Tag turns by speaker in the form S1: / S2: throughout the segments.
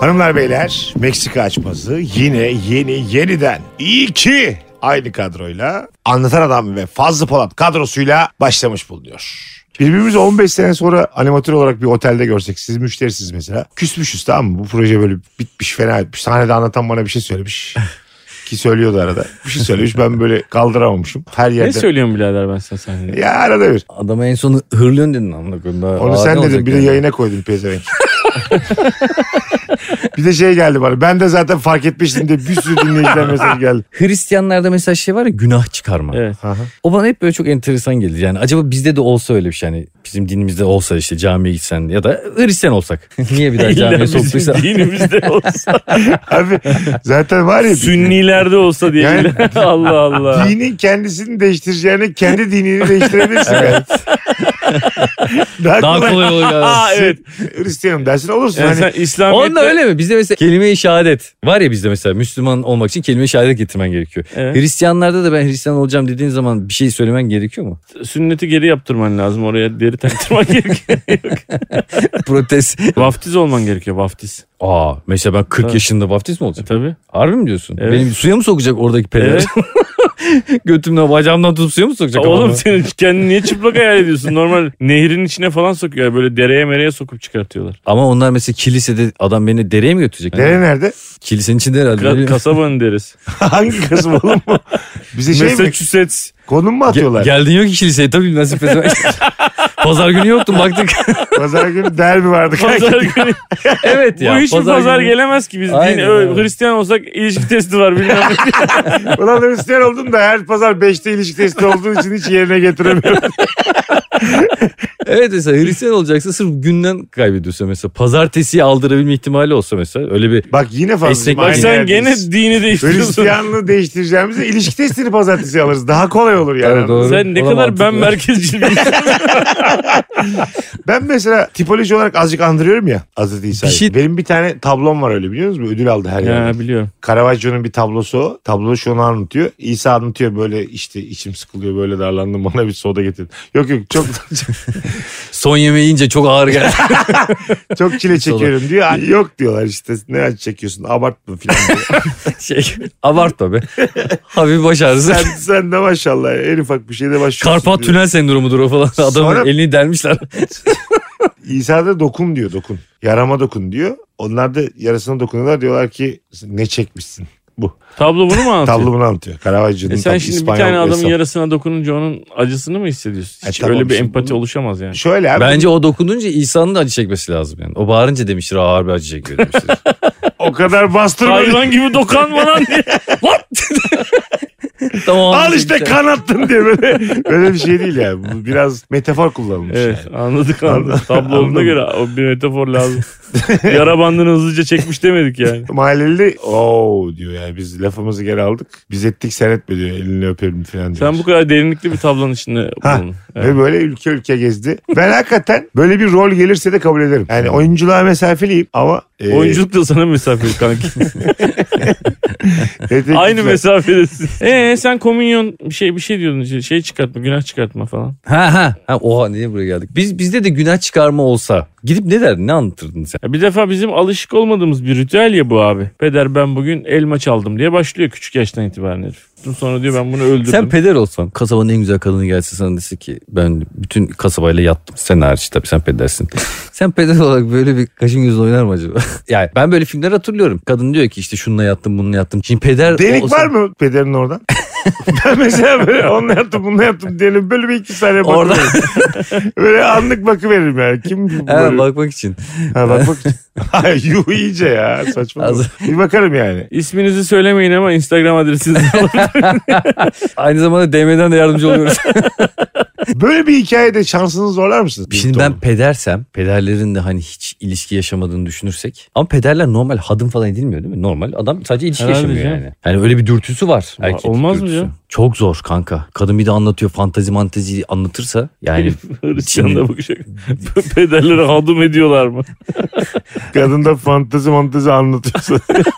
S1: Hanımlar beyler Meksika açması yine yeni yeniden iyi ki aynı kadroyla anlatan adam ve Fazlı Polat kadrosuyla başlamış bulunuyor. Birbirimizi 15 sene sonra animatör olarak bir otelde görsek siz müşterisiniz mesela. Küsmüşüz tamam mı? Bu proje böyle bitmiş fena etmiş. Sahnede anlatan bana bir şey söylemiş. Ki söylüyordu arada. Bir şey söylemiş ben böyle kaldıramamışım. Her
S2: Ne
S1: yerde.
S2: söylüyorsun birader ben sana sen?
S1: ya arada bir.
S3: Adama en son hırlıyorsun dedin amına koyayım. Daha
S1: Onu
S3: ağır ne
S1: sen dedin
S3: olacak
S1: bir de
S3: yani?
S1: yayına koydun pezevenk. bir de şey geldi bana. Ben de zaten fark etmiştim diye bir sürü dinleyiciden mesaj geldi.
S3: Hristiyanlarda mesela şey var ya günah çıkarma.
S2: Evet.
S3: O bana hep böyle çok enteresan geldi. Yani acaba bizde de olsa öyle bir şey. Yani bizim dinimizde olsa işte camiye gitsen ya da Hristiyan olsak. Niye bir daha
S2: İlla
S3: camiye
S2: bizim
S3: soktuysa.
S2: dinimizde olsa.
S1: Abi zaten var ya.
S2: Sünnilerde olsa diye.
S1: Yani-
S2: Allah Allah.
S1: Dinin kendisini değiştireceğine kendi dinini değiştirebilirsin. yani. Daha,
S3: Daha
S1: kolay.
S3: kolay olur.
S2: Aa evet.
S1: Hristiyanım dersin olursun.
S2: Yani
S1: hani,
S2: sen İslamiyet'te...
S3: Onda öyle mi? Bizde mesela kelime-i şehadet. Var ya bizde mesela Müslüman olmak için kelime-i şehadet getirmen gerekiyor.
S2: Evet.
S3: Hristiyanlarda da ben Hristiyan olacağım dediğin zaman bir şey söylemen gerekiyor mu?
S2: Sünneti geri yaptırman lazım. Oraya deri taktırman gerekiyor.
S3: Protest.
S2: vaftiz olman gerekiyor vaftiz.
S3: Aa mesela ben 40
S2: Evet.
S3: yaşında vaftiz mi olacağım?
S2: E, Tabii.
S3: Harbi mi diyorsun?
S2: Evet.
S3: Benim suya mı sokacak oradaki peder?
S2: Evet.
S3: Götümden bacağımdan tutup suya mı sokacak?
S2: Oğlum
S3: adamı?
S2: sen kendini niye çıplak hayal ediyorsun? Normal nehrin içine falan sokuyor. Böyle dereye mereye sokup çıkartıyorlar.
S3: Ama onlar mesela kilisede adam beni dereye mi götürecek?
S1: Dere nerede?
S3: Kilisenin içinde
S2: Ka-
S3: herhalde.
S2: kasabanın deresi.
S1: Hangi kısmı oğlum bu? Bize şey mi?
S2: Massachusetts.
S1: Konum mu
S3: Ge-
S1: atıyorlar?
S3: geldin yok ki kiliseye tabii nasip etmez. Pazar günü yoktum baktık.
S1: Pazar günü derbi vardı.
S2: Pazar günü.
S3: evet
S2: Bu hiç mi pazar
S3: günü-
S2: gelemez ki biz? Din,
S3: Aynen,
S2: ö-
S3: aynen.
S2: Hristiyan olsak ilişki testi var bilmem ne.
S1: Ulan Hristiyan oldum da her pazar 5'te ilişki testi olduğu için hiç yerine getiremiyorum.
S3: Evet mesela Hristiyan olacaksa sırf günden kaybediyorsa mesela pazartesiyi aldırabilme ihtimali olsa mesela öyle bir
S1: Bak yine fazla. şey
S3: Esnek-
S2: Bak
S3: Aynen
S2: sen gene dini değiştiriyorsun.
S1: Hristiyanlığı değiştireceğimize ilişki testini pazartesi alırız. Daha kolay olur yani.
S3: Evet, doğru.
S2: Sen ne
S3: Ona
S2: kadar
S3: mantıklı.
S2: ben merkezci bir
S1: Ben mesela tipoloji olarak azıcık andırıyorum ya Hazreti İsa'yı.
S3: Bir şey-
S1: Benim bir tane tablom var öyle biliyor musunuz? Ödül aldı her yerde.
S2: Ya biliyorum.
S1: Caravaggio'nun bir tablosu o. Tablo şunu anlatıyor. İsa anlatıyor böyle işte içim sıkılıyor böyle darlandım bana bir soda getirin. Yok yok çok
S3: Son yemeği yiyince çok ağır geldi.
S1: çok çile çekiyorum diyor. Ay, Yok diyorlar işte ne acı çekiyorsun abartma filan diyor.
S3: şey, abartma be. Hafif baş ağrısı.
S1: sen, sen de maşallah en ufak bir şeyde başlıyorsun.
S3: Karpat
S1: diyor.
S3: tünel sendromudur o falan. Adamın
S1: Sonra-
S3: elini delmişler.
S1: İsa da dokun diyor dokun. Yarama dokun diyor. Onlar da yarasına dokunuyorlar diyorlar ki ne çekmişsin.
S2: Tablo bunu mu anlatıyor?
S1: Tablo bunu anlatıyor. Caravaggio'nun
S2: E sen
S1: tabii
S2: şimdi bir
S1: İspanyol
S2: tane adamın
S1: ressam.
S2: yarasına dokununca onun acısını mı hissediyorsun?
S1: E
S2: Hiç
S1: tamam,
S2: öyle bir
S1: şimdi
S2: empati
S1: bunu-
S2: oluşamaz yani.
S1: Şöyle abi
S3: Bence o dokununca İsa'nın da acı çekmesi lazım yani. O bağırınca demiştir ağır bir acı çekiyor demiştir.
S1: o kadar bastırma.
S2: Hayvan gibi dokanma lan diye.
S3: tamam.
S1: Al işte kanattın diye böyle, böyle bir şey değil yani. Bu biraz metafor kullanılmış
S2: Evet
S1: yani.
S2: anladık anladık. Tablo olduğuna
S1: Anladım.
S2: göre o bir metafor lazım. Yara bandını hızlıca çekmiş demedik yani.
S1: Mahalleli ooo diyor yani biz lafımızı geri aldık. Biz ettik sen etme diyor elini öperim falan diyor.
S2: Sen bu kadar derinlikli bir tablonun içinde
S1: Ha,
S2: bulundun.
S1: Ve böyle ülke ülke gezdi. Ben hakikaten böyle bir rol gelirse de kabul ederim. Yani oyunculuğa mesafeliyim ama... e,
S2: Oyunculuk da sana mesafeli kanki.
S1: tetikçiler-
S2: Aynı mesafedesin. Ee sen komünyon bir şey bir şey diyordun. işte, Şey çıkartma, günah çıkartma falan.
S3: Ha ha. ha oha niye buraya geldik? Biz bizde de günah çıkarma olsa gidip ne derdin? Ne anlatırdın sen?
S2: Ya bir defa bizim alışık olmadığımız bir ritüel ya bu abi. Peder ben bugün elma çaldım diye başlıyor küçük yaştan itibaren herif. Sonra diyor ben bunu öldürdüm.
S3: Sen peder olsan kasabanın en güzel kadını gelse sana dese ki ben bütün kasabayla yattım. Sen hariç tabii sen pedersin. sen peder olarak böyle bir kaşın gözün oynar mı acaba? yani ben böyle filmler hatırlıyorum. Kadın diyor ki işte şununla yattım bununla yattım. Şimdi peder
S1: Delik
S3: olsa-
S1: var mı pederin oradan? ben mesela böyle onunla yaptım bununla yaptım diyelim böyle bir iki saniye bakıyorum.
S3: Orada
S1: Böyle anlık bakıveririm yani. Kim bu böyle?
S3: ha, bakmak için.
S1: Ha bak bak. Ay yuh iyice ya saçma.
S3: Az-
S1: bir bakarım yani.
S2: İsminizi söylemeyin ama Instagram adresinizi
S3: Aynı zamanda DM'den de yardımcı oluyoruz.
S1: Böyle bir hikayede şansınızı zorlar mısınız?
S3: Şimdi ben pedersem pederlerin de hani hiç ilişki yaşamadığını düşünürsek ama pederler normal hadım falan edilmiyor değil mi? Normal adam sadece ilişki
S2: Herhalde
S3: yaşamıyor
S2: canım.
S3: yani. Yani öyle bir dürtüsü var.
S2: Ama
S3: erkek
S2: olmaz mı
S3: dürtüsü.
S2: ya?
S3: Çok zor kanka. Kadın bir de anlatıyor fantazi mantazi anlatırsa yani
S2: Hristiyan da şey. bakacak. Pederlere hadım ediyorlar mı?
S1: Kadın da fantezi mantezi anlatıyorsa.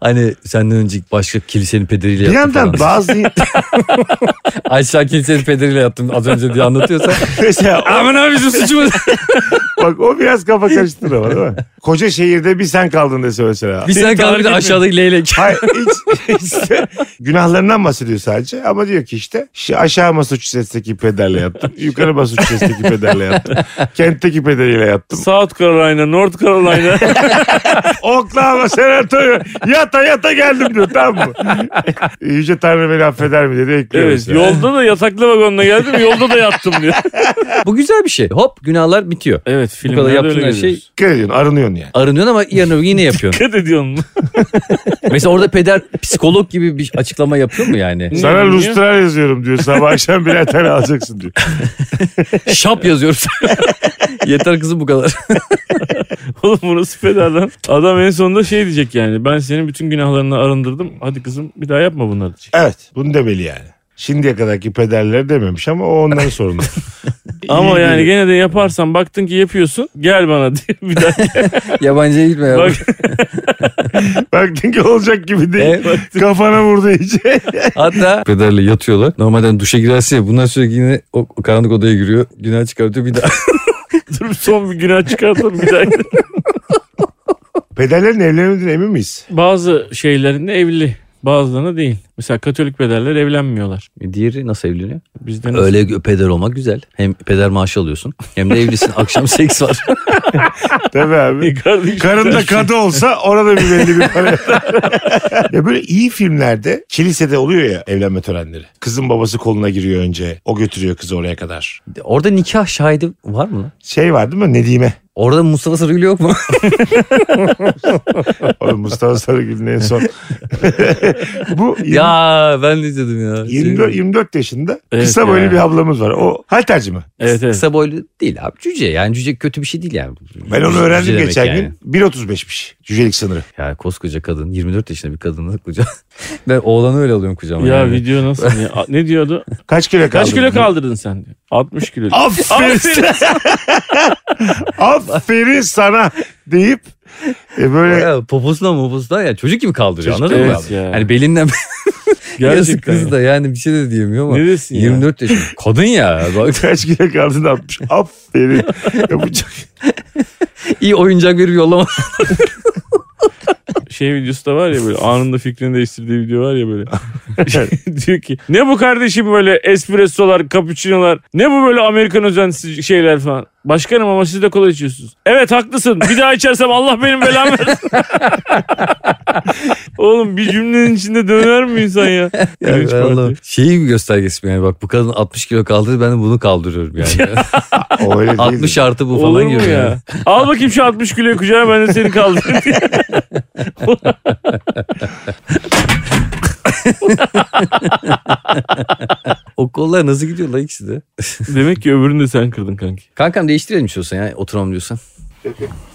S3: hani senden önce başka kilisenin pederiyle
S1: bir
S3: yattım
S1: yandan
S3: falan.
S1: bazı
S3: Ayşe kilisenin pederiyle yattım az önce diye anlatıyorsa.
S1: mesela
S3: Aman abi şu suçumuz.
S1: o, Bak o biraz kafa karıştırır ama değil mi? Koca şehirde bir sen kaldın da söylesene.
S3: Bir sen
S2: Seni
S3: kal bir
S2: tarif
S3: de
S2: etmiyor.
S3: aşağıdaki leylek.
S1: Hayır hiç, hiç günahlarından bahsediyor sadece ama diyor ki işte şu aşağı Massachusetts'teki pederle yattım. Yukarı Massachusetts'teki pederle yattım. Kentteki pederiyle yattım.
S2: South Carolina, North Carolina.
S1: Oklahoma senatoyu yata yata geldim diyor tamam mı? Yüce Tanrı beni affeder mi dedi ekliyor.
S2: evet,
S1: mesela.
S2: yolda da yataklı vagonuna geldim, yolda da yattım diyor.
S3: Bu güzel bir şey. Hop günahlar bitiyor.
S2: Evet,
S3: kadar
S2: filmlerde
S3: yaptığın
S2: öyle
S3: her
S2: şey... görüyoruz.
S1: Dikkat ediyorsun arınıyorsun yani.
S3: Arınıyorsun ama yarın öbür gün yine yapıyorsun.
S2: Dikkat ediyorsun.
S3: Mesela orada peder psikolog gibi bir açıklama yapıyor mu yani?
S2: Ne
S1: Sana
S2: diyor?
S1: lustral yazıyorum diyor. Sabah akşam birer tane alacaksın diyor.
S3: Şap yazıyoruz. Yeter kızım bu kadar.
S2: Oğlum burası fedadan. Adam en sonunda şey diyecek yani. Ben senin bütün günahlarını arındırdım. Hadi kızım bir daha yapma bunları diyecek.
S1: Evet bunu demeli yani. Şimdiye kadarki pederler dememiş ama o onların sorunu.
S2: Ama
S1: İyi
S2: yani
S1: değil.
S2: gene de yaparsan baktın ki yapıyorsun. Gel bana diye bir daha.
S3: Yabancıya gitme ya.
S2: Bak,
S1: Baktın ki olacak gibi değil.
S3: Evet.
S1: Kafana vurdu iyice.
S3: E, Hatta pederle yatıyorlar. Normalden duşa girersin ya bunlar sürekli yine o o karanlık odaya giriyor. Günah çıkartıyor bir daha.
S2: dur son bir günah çıkartalım bir daha.
S1: Pederlerin evlenmediğine emin miyiz?
S2: Bazı şeylerinde evli. Bazılarına değil. Mesela Katolik pederler evlenmiyorlar.
S3: Diğeri nasıl evleniyor?
S2: Bizde nasıl?
S3: Öyle peder olmak güzel. Hem peder maaşı alıyorsun hem de evlisin. Akşam seks var.
S1: Tabii
S2: E,
S1: abi.
S2: Kardeşim,
S1: Karın da kadı olsa orada bir belli bir para. ya böyle iyi filmlerde kilisede oluyor ya evlenme törenleri. Kızın babası koluna giriyor önce. O götürüyor kızı oraya kadar.
S3: Orada nikah şahidi var mı lan?
S1: Şey var değil mi? Nedime.
S3: Orada Mustafa Sarıgül yok mu?
S1: Oğlum Mustafa Sarıgül'ün en son. Bu yirmi-
S3: ya ben de izledim ya. Şey-
S1: 24, 24 yaşında
S2: Evet
S1: kısa
S2: ya.
S1: böyle bir ablamız var. O halterci mi?
S2: Evet evet.
S3: Kısa boylu değil abi. Cüce yani cüce kötü bir şey değil yani.
S1: Ben onu
S3: Cüce
S1: öğrendim
S3: demek
S1: geçen
S3: yani.
S1: gün. 1.35'miş cücelik sınırı.
S3: Ya koskoca kadın 24 yaşında bir kadını kucağına. ben oğlanı öyle alıyorum kucağıma.
S2: Ya
S3: yani.
S2: video nasıl? ya? A- Ne diyordu?
S1: Kaç kilo kaldı?
S2: Kaç kilo kaldırdın sen? diyor. 60 kilo.
S1: Aferin,
S2: Aferin.
S1: aferin sana deyip e, böyle
S3: Ya, poposuna moposuna ya çocuk gibi kaldırıyor
S1: Çocuk-
S3: anladın
S2: Evet
S3: mı?
S2: ya.
S3: Hani belinden yazık
S2: Gerçekten.
S3: kız da yani bir şey de diyemiyor ama.
S2: Ne desin ya?
S3: 24 yaşında. Kadın ya. Bak,
S1: kaç kilo kaldın atmış. Aferin. Yapacak.
S3: iyi oyuncak verip yollama.
S2: şey videosu da var ya böyle anında fikrini değiştirdiği video var ya böyle. diyor ki ne bu kardeşim böyle espressolar, cappuccino'lar ne bu böyle Amerikan özensiz şeyler falan. Başkanım ama siz de kola içiyorsunuz. Evet haklısın bir daha içersem Allah benim belamı versin. Oğlum bir cümlenin içinde döner mi insan ya?
S3: Ya,
S2: Üç
S3: ben
S2: parti.
S3: Allah'ım. Şeyi bir göstergesi mi yani bak bu kadın 60 kilo kaldırdı ben de bunu kaldırıyorum yani.
S1: O öyle değil.
S3: 60 artı bu
S2: Olur
S3: falan
S2: mu
S3: gibi.
S2: ya? Al bakayım şu 60 kiloyu kucağına ben de seni kaldırayım diye.
S3: O kollar nasıl gidiyor la ikisi de?
S2: Demek ki öbürünü de sen kırdın kanki.
S3: Kankam değiştirelim istiyorsan ya oturalım diyorsan.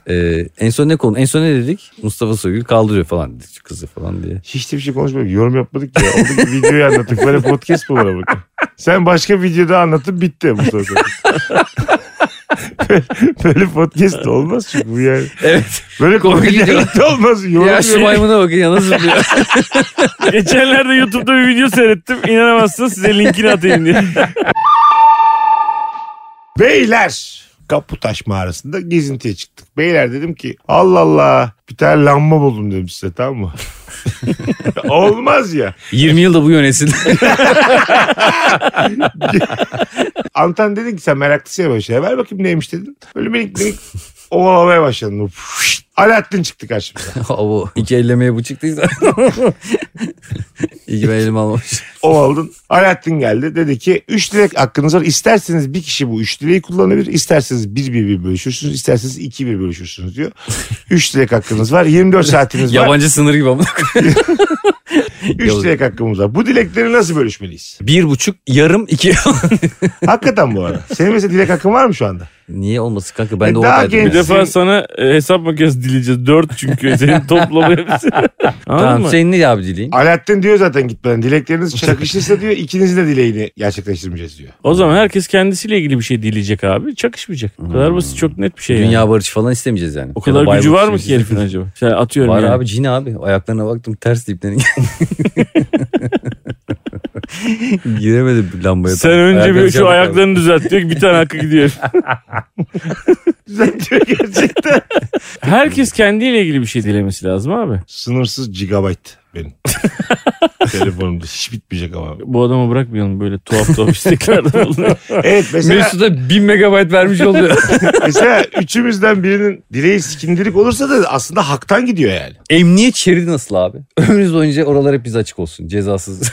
S3: Ee, en son ne konu? En son ne dedik? Mustafa Soygül kaldırıyor falan dedik kızı falan diye.
S1: Hiç de bir şey konuşmadık. Yorum yapmadık ya. Oradaki videoyu anlattık. Böyle podcast mı var bak. Sen başka videoda anlatıp bitti bu soru. böyle podcast da olmaz çünkü bu yani.
S3: Evet.
S1: Böyle
S3: Komik
S1: komedi
S3: video.
S1: de olmaz. Yorum
S3: ya şu
S1: yok.
S3: maymuna bakın ya nasıl diyor.
S2: Geçenlerde YouTube'da bir video seyrettim. İnanamazsınız size linkini atayım diye.
S1: Beyler Kaputaş mağarasında gezintiye çıktık. Beyler dedim ki Allah Allah bir tane lamba buldum dedim size tamam mı? Olmaz ya.
S3: 20 yılda bu yönetsin.
S1: Antan dedi ki sen meraklısın ya böyle şeyler. Ver bakayım neymiş dedim. Böyle minik minik ovalamaya başladım. Fışt! Alaaddin çıktı karşımıza.
S3: Abo. İki ellemeye bu çıktıysa. İyi ki ben elimi almamış.
S1: Ovaldın. Alaaddin geldi. Dedi ki 3 dilek hakkınız var. İsterseniz bir kişi bu 3 dileği kullanabilir. İsterseniz 1 bir bir bölüşürsünüz. İsterseniz 2 bir bölüşürsünüz diyor. 3 dilek hakkınız var. 24 saatiniz var.
S3: Yabancı sınır gibi ama.
S1: 3 dilek hakkımız var. Bu dilekleri nasıl bölüşmeliyiz?
S3: Bir buçuk, yarım, iki.
S1: Hakikaten bu arada. Senin mesela dilek hakkın var mı şu anda?
S3: Niye olmasın kanka? Ben
S1: E,
S3: de
S1: daha
S3: oradaydım.
S1: genç.
S2: Bir defa sana e, hesap makinesi dileyeceğiz. Dört çünkü senin toplamı hepsi. Anladın
S3: Tamam
S2: mı?
S3: senin ne abi dileğin?
S1: Alaaddin diyor zaten gitmeden. Dilekleriniz çakışırsa diyor ikinizin de dileğini gerçekleştirmeyeceğiz diyor.
S2: O zaman herkes kendisiyle ilgili bir şey dileyecek abi. Çakışmayacak. O kadar basit çok net bir şey yani.
S3: Dünya barışı falan istemeyeceğiz yani.
S2: O kadar
S3: Ya da
S2: gücü
S3: Bayburt
S2: var mı ki herifin acaba? Şey atıyorum
S3: Var
S2: yani.
S3: abi cin abi. Ayaklarına baktım ters diplerin. Giremedi bir lambaya.
S2: Sen
S3: tam.
S2: önce bir
S3: Ayakları
S2: şu
S3: çabuk
S2: ayaklarını düzelt diyor ki bir tane hakkı gidiyor.
S1: Düzeltiyor gerçekten.
S2: Herkes kendiyle ilgili bir şey dilemesi lazım abi.
S1: Sınırsız gigabyte benim. Telefonumda hiç bitmeyecek ama.
S2: Bu adamı bırakmayalım böyle tuhaf tuhaf isteklerden oluyor.
S1: Evet
S3: kaldı.
S1: mesela,
S3: Mesut'a 1000 megabayt vermiş oluyor.
S1: mesela üçümüzden birinin direği sikindirik olursa da aslında haktan gidiyor yani.
S3: Emniyet şeridi nasıl abi? Ömrünüz boyunca oralar hep bize açık olsun. Cezasız.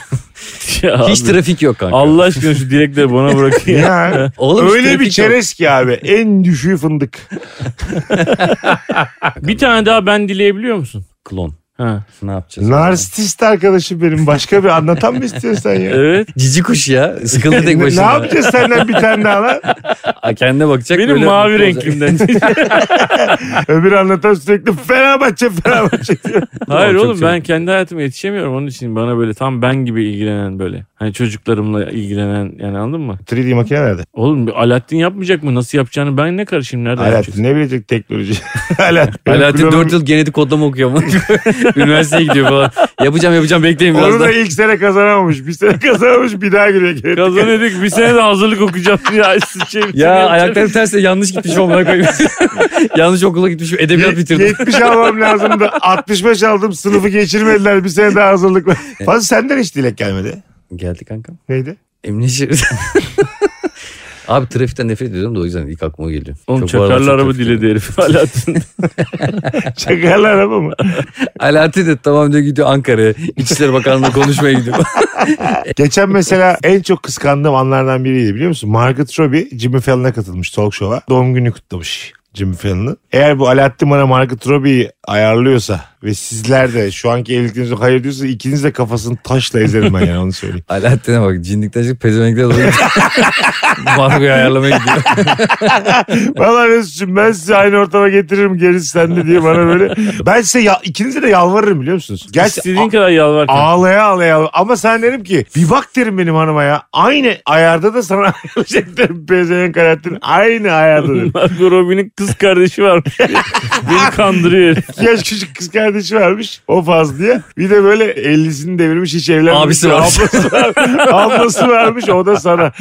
S2: Ya
S3: Hiç
S2: abi,
S3: trafik yok kanka.
S2: Allah aşkına şu dilekleri bana bırakın ya.
S1: Ya.
S3: Oğlum hiç
S1: Öyle
S3: trafik
S1: bir
S3: yok.
S1: çerez ki abi. En düşüğü fındık.
S2: bir tane daha ben dileyebiliyor musun?
S3: Klon.
S2: Ha.
S3: Ne yapacağız?
S1: Narsist arkadaşım benim. Başka bir anlatan mı istiyorsun sen ya?
S2: Evet.
S3: Cici kuş ya. Sıkıldı tek
S1: Ne- ne
S3: başına.
S1: yapacağız senden bir tane daha lan?
S3: Ha, Kendine bakacak.
S2: Benim
S3: böyle
S2: mavi
S3: mutlu olacak.
S2: renklimden.
S1: Öbür anlatan sürekli Fenerbahçe Fenerbahçe diyor.
S2: Hayır
S3: Çok
S2: oğlum
S3: sevdim.
S2: ben kendi hayatıma yetişemiyorum. Onun için bana böyle tam ben gibi ilgilenen böyle. Hani çocuklarımla ilgilenen yani anladın mı?
S1: 3D makine nerede?
S2: Oğlum bir Alaaddin yapmayacak mı? Nasıl yapacağını ben ne karışayım? Nerede yapacak?
S1: Alaaddin ne bilecek teknoloji? Alaaddin.
S3: Alaaddin
S1: Benim
S3: 4 yıl genetik kodlama okuyor mu? Üniversiteye gidiyor falan. Yapacağım yapacağım bekleyin
S1: Onu
S3: biraz
S1: da
S3: da.
S1: ilk sene kazanamamış. Bir sene kazanamamış bir daha giriyor.
S2: Kazanıyorduk bir sene de hazırlık okuyacağım. Ya, siz şey-
S3: Ya
S2: yapacak-
S3: ayaklarım tersine yanlış gitmiş onlara koyayım. yanlış okula gitmişim. Edebiyat bitirdim.
S1: 70 almam lazımdı. 65 aldım. Sınıfı geçirmediler. Bir sene daha hazırlık var. Fazla senden hiç dilek gelmedi.
S3: Geldi kankam.
S1: Neydi?
S3: Emniyet şeridi. Abi trafikten nefret ediyorum da o yüzden ilk aklıma geliyor.
S2: Oğlum
S3: Çok bu aralar
S2: çakarlı
S3: çok
S2: araba
S3: trafik-
S2: diledi herif Alaaddin.
S1: Çakarlı araba mı?
S3: Alaaddin de tamam diyor gidiyor Ankara'ya. İçişleri Bakanlığı'na konuşmaya gidiyor.
S1: Geçen mesela en çok kıskandığım anlardan biriydi biliyor musun? Margaret Robbie Jimmy Fallon'a katılmış talk show'a. Doğum günü kutlamış Jimmy Fallon'ın. Eğer bu Alaaddin bana Margaret Robbie'yi ayarlıyorsa ve sizler de şu anki evliliklerinizde hayır diyorsanız ikiniz de kafasını taşla ezerim ben yani onu söyleyeyim.
S3: Alaaddin'e bak cindikten çıkıp pezevenkler doğru gidiyor. Bargoyu ayarlamaya gidiyor.
S1: Valla Mesut'cum ben sizi aynı ortama getiririm gerisi sende diye bana böyle. Ben size ya, ikinize de yalvarırım biliyor musunuz? Gerçi
S2: İstediğin kadar yalvar. kanka.
S1: Ağlaya ağlaya ağlaya. Ama sen derim ki bir bak derim benim hanıma ya. Aynı ayarda da sana ayrılacak derim. Pezevenk Alaaddin aynı ayarda derim.
S2: Margot Robbie'nin kız kardeşi varmış. Beni kandırıyor. herif.
S1: İki yaş küçük kız kardeşi varmış. O faz diye. Bir de böyle 50'sini devirmiş hiç evlenmemiş.
S3: Abisi
S1: Bir
S3: varmış.
S1: Ablası, var, ablası varmış o da sana.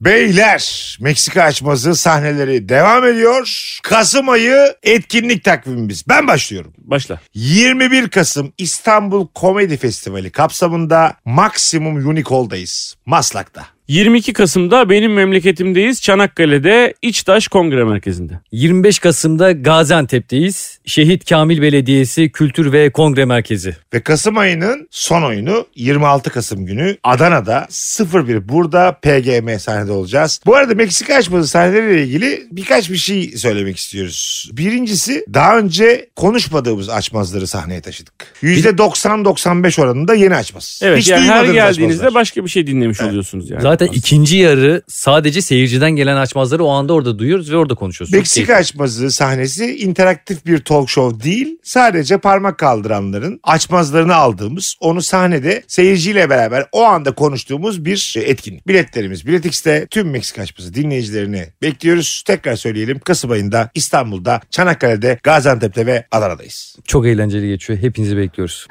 S1: Beyler Meksika açması sahneleri devam ediyor. Kasım ayı etkinlik takvimimiz. Ben başlıyorum.
S2: Başla.
S1: 21 Kasım İstanbul Komedi Festivali kapsamında Maximum Unicol'dayız. Maslak'ta.
S2: 22 Kasım'da benim memleketimdeyiz. Çanakkale'de İçtaş Kongre Merkezi'nde.
S3: 25 Kasım'da Gaziantep'teyiz. Şehit Kamil Belediyesi Kültür ve Kongre Merkezi.
S1: Ve Kasım ayının son oyunu 26 Kasım günü Adana'da 01 burada PGM sahnede olacağız. Bu arada Meksika açması sahneleriyle ilgili birkaç bir şey söylemek istiyoruz. Birincisi daha önce konuşmadığımız açmazları sahneye taşıdık. %90-95 oranında yeni açmaz.
S2: Evet
S1: Hiç
S2: yani her
S1: duymadığınız
S2: geldiğinizde
S1: açmazlar.
S2: başka bir şey dinlemiş oluyorsunuz yani.
S3: Zaten ikinci yarı sadece seyirciden gelen açmazları o anda orada duyuyoruz ve orada konuşuyoruz. Çok
S1: Meksika açmazı sahnesi interaktif bir talk show değil. Sadece parmak kaldıranların açmazlarını aldığımız, onu sahnede seyirciyle beraber o anda konuştuğumuz bir şey, etkinlik. Biletlerimiz Biletix'te tüm Meksika açması dinleyicilerini bekliyoruz. Tekrar söyleyelim Kasım ayında İstanbul'da, Çanakkale'de, Gaziantep'te ve Adana'dayız.
S3: Çok eğlenceli geçiyor. Hepinizi bekliyoruz.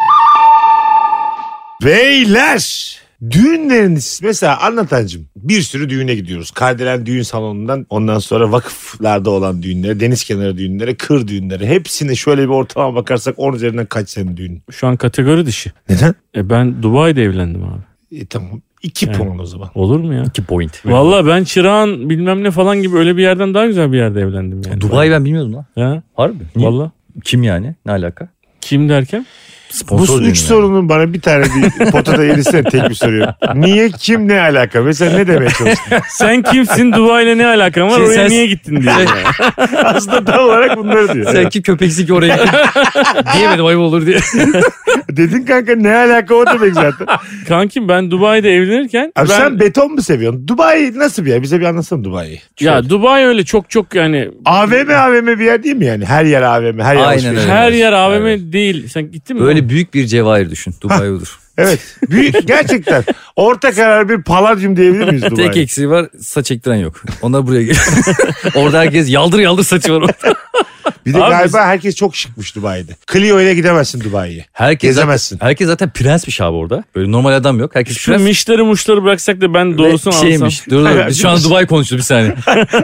S1: Beyler! Düğünleriniz mesela anlatancım bir sürü düğüne gidiyoruz. Kardelen düğün salonundan ondan sonra vakıflarda olan düğünlere, deniz kenarı düğünlere, kır düğünlere hepsine şöyle bir ortalama bakarsak 10 üzerinden kaç senin düğün?
S2: Şu an kategori dışı.
S1: Neden?
S2: E ben Dubai'de evlendim abi.
S1: E, tamam 2
S2: Yani.
S1: puan o zaman.
S2: Olur mu ya?
S3: 2 point.
S2: Valla ben Çırağan bilmem ne falan gibi öyle bir yerden daha güzel bir yerde evlendim yani.
S3: Dubai ben bilmiyordum lan.
S2: Ha?
S3: Harbi. Niye?
S2: Valla.
S3: Kim yani? Ne alaka?
S2: Kim derken?
S3: Sponsor
S1: Bu
S3: düğünü
S1: üç
S3: yani.
S1: sorunun bana bir tane bir potada yerisine tek bir soruyorum. Niye, kim, ne alaka? Mesela ne demeye çalıştın?
S2: Sen kimsin Dubai'yle ne alakan var
S3: Şey,
S2: oraya
S3: sen-
S2: niye gittin diye.
S1: Aslında tam olarak bunları diyor.
S3: Sen ki köpeksi ki oraya diyemedim ayıp olur diye.
S1: Dedin kanka ne alaka o demek zaten.
S2: Kankim ben Dubai'de evlenirken
S1: Abi
S2: ben-
S1: sen beton mu seviyorsun? Dubai nasıl bir yer? Bize bir şey- anlatsana Dubai'yi.
S2: ya Dubai öyle çok çok yani
S1: AVM AVM bir yer değil mi yani? Her yer AVM, her yer
S3: Aynen
S1: alışveriş.
S3: öyle.
S2: her
S3: Evet,
S2: yer AVM
S3: evet.
S2: değil. Sen gittin mi?
S3: Böyle büyük bir cevahir düşün. Dubai olur.
S1: Evet. Büyük gerçekten. Orta karar bir paladyum diyebilir miyiz
S3: Tek
S1: Dubai'ye?
S3: eksiği var saç ektiren yok. Onlar buraya geliyor. Orada herkes yaldır yaldır saçı var.
S1: Bir de
S2: Abi
S1: galiba herkes çok şıkmış Dubai'de. Clio ile gidemezsin Dubai'yi.
S3: Herkes
S1: Gezemezsin.
S3: Zaten, herkes zaten prensmiş abi orada. Böyle normal adam yok. Herkes
S2: Şu
S3: prens.
S2: mişleri muşları bıraksak da ben doğrusunu
S3: Ve
S2: alsam.
S3: şeymiş. Dur dur. Biz şu an Dubai konuşuyoruz bir saniye.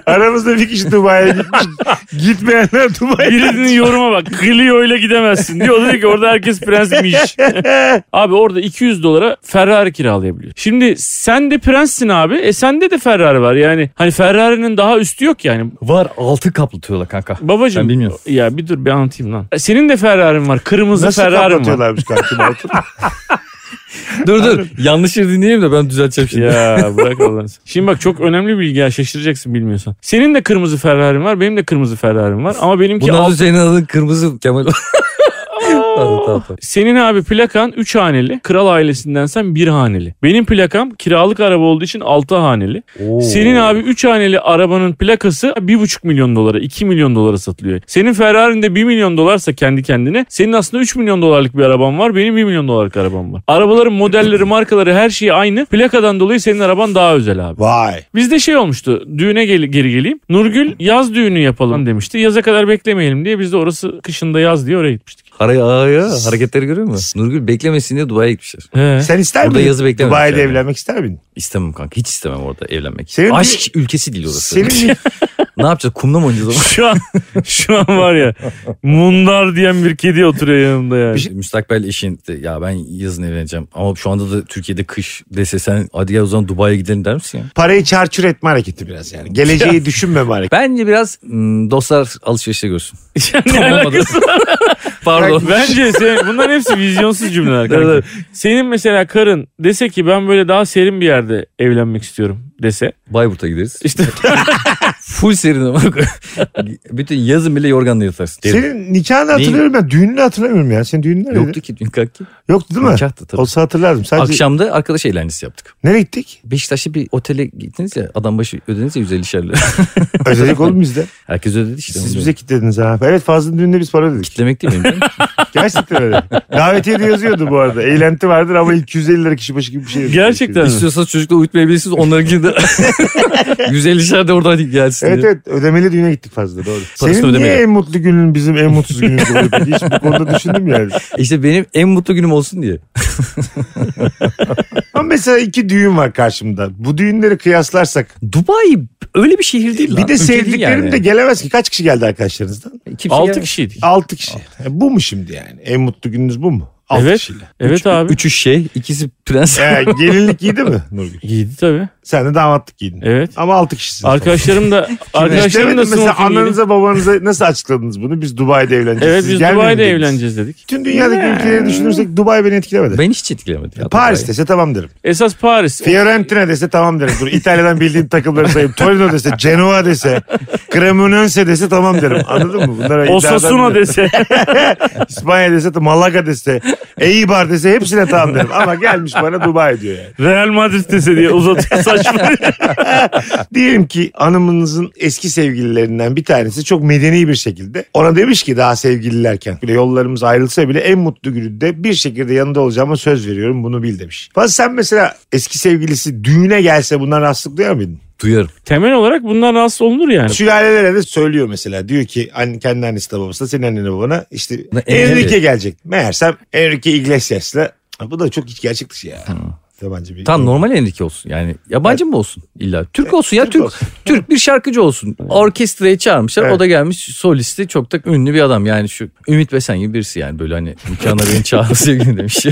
S1: Aramızda bir kişi Dubai'ye gitmiş. Gitmeyenler Dubai'ye.
S2: Birinin yoruma bak. Clio ile gidemezsin diyor. O da diyor ki orada herkes prensmiş. abi orada 200 dolara Ferrari kiralayabiliyor. Şimdi sen de prenssin abi. E sende de Ferrari var. Yani hani Ferrari'nin daha üstü yok yani.
S3: Var altı kaplatıyorlar kanka.
S2: Babacım.
S3: Ben bilmiyorum.
S2: Ya bir dur bir anlatayım lan. E, Senin de Ferrari'nin var. Kırmızı
S1: Nasıl
S2: Ferrari'nin var.
S1: kapatıyorlarmış kartın altını?
S3: dur dur. Yanlış yeri dinleyeyim de ben düzelteceğim şimdi.
S2: Ya bırak Allah'ını seversen. Şimdi bak çok önemli bir bilgi ya şaşıracaksın bilmiyorsan. Senin de kırmızı Ferrari'm var benim de kırmızı Ferrari'm var ama benimki
S3: Bundan
S2: alt-
S3: sonra senin adın kırmızı Kemal. tamam, tamam, tamam.
S2: Senin abi plakan 3 haneli. Kral ailesindensen 1 haneli. Benim plakam kiralık araba olduğu için 6 haneli. Senin abi 3 haneli arabanın plakası 1,5 milyon dolara 2 milyon dolara satılıyor. Senin Ferrari'nin de 1 milyon dolarsa kendi kendine senin aslında 3 milyon dolarlık bir araban var. Benim 1 milyon dolarlık arabam var. Arabaların modelleri markaları her şeyi aynı. Plakadan dolayı senin araban daha özel abi.
S1: Vay.
S2: Bizde şey olmuştu. Düğüne gel- geri geleyim. Nurgül yaz düğünü yapalım demişti. Yaza kadar beklemeyelim diye biz de orası kışında yaz diye oraya gitmiştik.
S3: Haraya ağaya hareketleri görüyor musun? Nurgül beklemesin diye Dubai'ye gitmişler.
S2: He.
S1: Sen ister
S3: Burada
S1: miydin?
S3: yazı beklememiş
S1: Dubai'de
S3: yani.
S1: evlenmek ister miydin?
S3: İstemem kanka. Hiç istemem orada evlenmek.
S1: Senin-
S3: Aşk ülkesi değil orası.
S1: Senin
S3: ne yapacağız? Kumla mı oynayacağız? o zaman?
S2: Şu an şu an var ya mundar diyen bir kedi oturuyor yanımda yani.
S3: şey- Müstakbel eşin de, ya ben yazın evleneceğim ama şu anda da Türkiye'de kış dese sen hadi gel o zaman Dubai'ye gidelim der misin ya?
S1: parayı çarçur etme hareketi biraz yani. Geleceği düşünmeme hareketi.
S3: Bence biraz hmm, dostlar alışverişte görsün.
S2: Ya ne
S3: Olmadı.
S2: alakası var?
S3: Pardon.
S2: Bence sen, bunların hepsi vizyonsuz cümleler
S3: Evet,
S2: kanka. Senin mesela karın dese ki ben böyle daha serin bir yerde evlenmek istiyorum dese.
S3: Bayburt'a gideriz.
S2: İşte
S3: Full serin ama. Bütün yazın bile yorganla yatarsın.
S1: Senin nikahını hatırlıyorum ben. Düğününü hatırlamıyorum ya. Senin düğünün nerede?
S3: Yoktu ki dün kalktı.
S1: Yoktu değil mi?
S3: Nikahtı tabii.
S1: Olsa hatırlardım. Sadece
S3: Akşamda arkadaş eğlencesi yaptık.
S1: nereye gittik?
S3: Beşiktaş'ta bir otele gittiniz ya adam başı ödediniz ya 150 lira.
S1: Ödedik oğlum bizde.
S3: Herkes ödedi işte.
S1: Siz
S3: onu
S1: bize kitlediniz ha. Evet Fazlı'nın düğünde biz para ödedik.
S3: Kitlemek değil mi?
S1: Gerçekten öyle. Davetiye de yazıyordu bu arada. Eğlenti vardır ama 250 lira kişi başı gibi bir şey. yazıyordu.
S2: Gerçekten mi?
S3: İstiyorsanız çocukla uyutmayabilirsiniz. Onlarınkini de 150 de oradan gelsin
S1: Evet
S3: diye.
S1: evet ödemeli düğüne gittik fazla doğru.
S3: Parasını
S1: Senin niye
S3: ödemeli.
S1: en mutlu günün bizim en mutsuz günümüz oluyor peki? Hiç bu konuda düşündüm yani.
S3: İşte benim en mutlu günüm olsun diye.
S1: Ama mesela iki düğün var karşımda. Bu düğünleri kıyaslarsak.
S3: Dubai öyle bir şehir değil lan.
S1: Bir de
S3: Ülke değil
S1: sevdiklerim
S3: yani.
S1: de gelemez ki. Kaç kişi geldi arkadaşlarınızdan?
S3: Kimse
S2: 6
S3: gelmez.
S2: kişiydik.
S1: 6 kişi. E,
S3: Ah.
S1: Bu mu şimdi yani? En mutlu gününüz bu mu? 6
S2: Evet.
S1: kişiyle.
S2: Evet abi.
S3: Üçü şey, ikisi prens.
S1: E, gelinlik giydi mi Nurgül?
S2: Giydi tabii.
S1: Sen de damatlık giydin.
S2: Evet.
S1: Ama 6 kişisiniz.
S2: Arkadaşlarım da arkadaşlarım da
S1: İstemedim. mesela
S2: smoking giydi.
S1: annenize babanıza nasıl açıkladınız bunu? Biz Dubai'de evleneceğiz.
S2: Evet
S1: Siz
S2: biz
S1: gelmeyin
S2: Dubai'de
S1: dediniz.
S2: evleneceğiz dedik.
S1: Bütün dünyadaki ülkeleri düşünürsek Dubai beni etkilemedi.
S3: Ben hiç etkilemedim. ya
S1: Paris
S3: Dubai'yi.
S1: dese tamam derim.
S2: Esas Paris.
S1: Fiorentina dese tamam derim. Dur İtalya'dan bildiğim takımları sayayım. Torino dese, Genoa dese, Cremonense dese tamam derim. Anladın mı? Bunlar
S2: Osasuna
S1: dese.
S2: dese.
S1: İspanya dese, Malaga dese, Eibar dese hepsine tamam derim. Ama gelmiş bana Dubai diyor yani.
S2: Real Madrid dese diye uzatıyor saçma.
S1: Diyelim ki hanımınızın eski sevgililerinden bir tanesi çok medeni bir şekilde ona demiş ki daha sevgililerken bile yollarımız ayrılsa bile en mutlu gününde bir şekilde yanında olacağıma söz veriyorum bunu bil demiş. Fazla sen mesela eski sevgilisi düğüne gelse bundan rahatsızlık duyar mıydın?
S3: Duyarım.
S2: Temel olarak bundan rahatsız olunur yani.
S1: Sülalelere de söylüyor mesela. Diyor ki anne, kendi annesi de babası da senin annene babana işte
S3: Ne-
S1: Enrique
S3: Enrique.
S1: gelecek. Meğersem Enrique Iglesias'la Ha, bu da çok hiç gerçek dışı ya. Yabancı bir
S3: Tam normal Enrique olsun. Yani yabancı mı olsun illa? Türk olsun ya
S1: Türk
S3: Türk. Türk,
S1: olsun.
S3: bir şarkıcı olsun. Orkestrayı çağırmışlar.
S1: Evet.
S3: O da gelmiş solisti çok da ünlü bir adam. Yani şu Ümit Besen gibi birisi yani böyle hani nikahına beni çağır sevgilim demiş.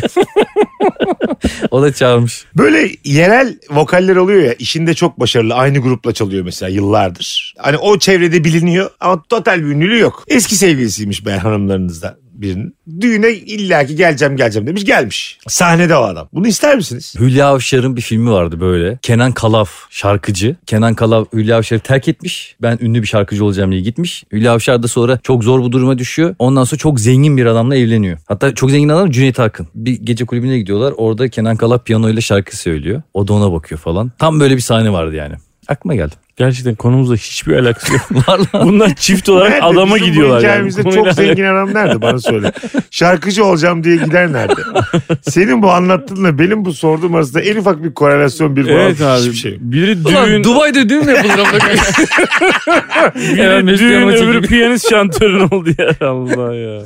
S3: o da çağırmış.
S1: Böyle yerel vokaller oluyor ya işinde çok başarılı aynı grupla çalıyor mesela yıllardır. Hani o çevrede biliniyor ama total bir ünlülüğü yok. Eski sevgilisiymiş ben hanımlarınızdan birinin. Düğüne illaki geleceğim geleceğim demiş gelmiş. Sahnede o adam. Bunu ister misiniz?
S3: Hülya Avşar'ın bir filmi vardı böyle. Kenan Kalaf şarkıcı. Kenan Kalaf Hülya Avşar'ı terk etmiş. Ben ünlü bir şarkıcı olacağım diye gitmiş. Hülya Avşar da sonra çok zor bu duruma düşüyor. Ondan sonra çok zengin bir adamla evleniyor. Hatta çok zengin adam Cüneyt Arkın. Bir gece kulübüne gidiyorlar. Orada Kenan Kalaf piyanoyla şarkı söylüyor. O da ona bakıyor falan. Tam böyle bir sahne vardı yani. Aklıma geldi.
S2: Gerçekten konumuzla hiçbir alakası yok.
S3: Var lan.
S2: Bunlar çift olarak
S1: Nerede?
S2: adama
S1: Bizim bu
S2: gidiyorlar. yani.
S1: hikayemizde
S2: Konuyla
S1: çok zengin adam nerede bana söyle. Şarkıcı olacağım diye gider nerede? Senin bu anlattığınla benim bu sorduğum arasında en ufak bir korelasyon bir
S2: Evet
S1: bağlantı
S2: abi.
S1: hiçbir şey yok.
S2: Biri
S3: Ulan
S2: düğün,
S3: Dubai'de düğün mü yapılır? amına koyayım? Hemen
S2: biri
S3: Mesut
S2: düğün
S3: Yanal'a çekeyim.
S2: öbürü piyanist şantörün oldu ya. Allah ya.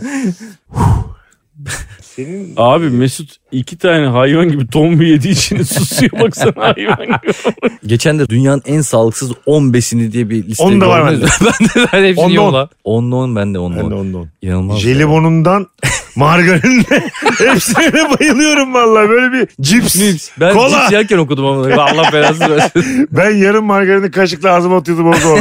S1: Senin
S2: Abi Mesut iki tane hayvan gibi tombu yediği için susuyor baksana hayvan gibi.
S3: Geçen de dünyanın en sağlıksız 10 besini diye bir liste
S1: On da var
S3: gördünüz mü? ben de ben
S1: On da
S3: hepsini yiyorum
S1: on.
S3: lan. 10'da 10 ben de 10
S1: ben de
S3: 10.
S1: Hani ondan.
S3: İnanılmaz. ya.
S1: Jelibonundan margarinle hepsine de bayılıyorum vallahi böyle bir cips.
S3: Cips. Ben
S1: Kola.
S3: cips yerken okudum ama Allah belasını versin.
S1: Ben yarım margarini kaşıkla ağzıma atıyordum o zaman.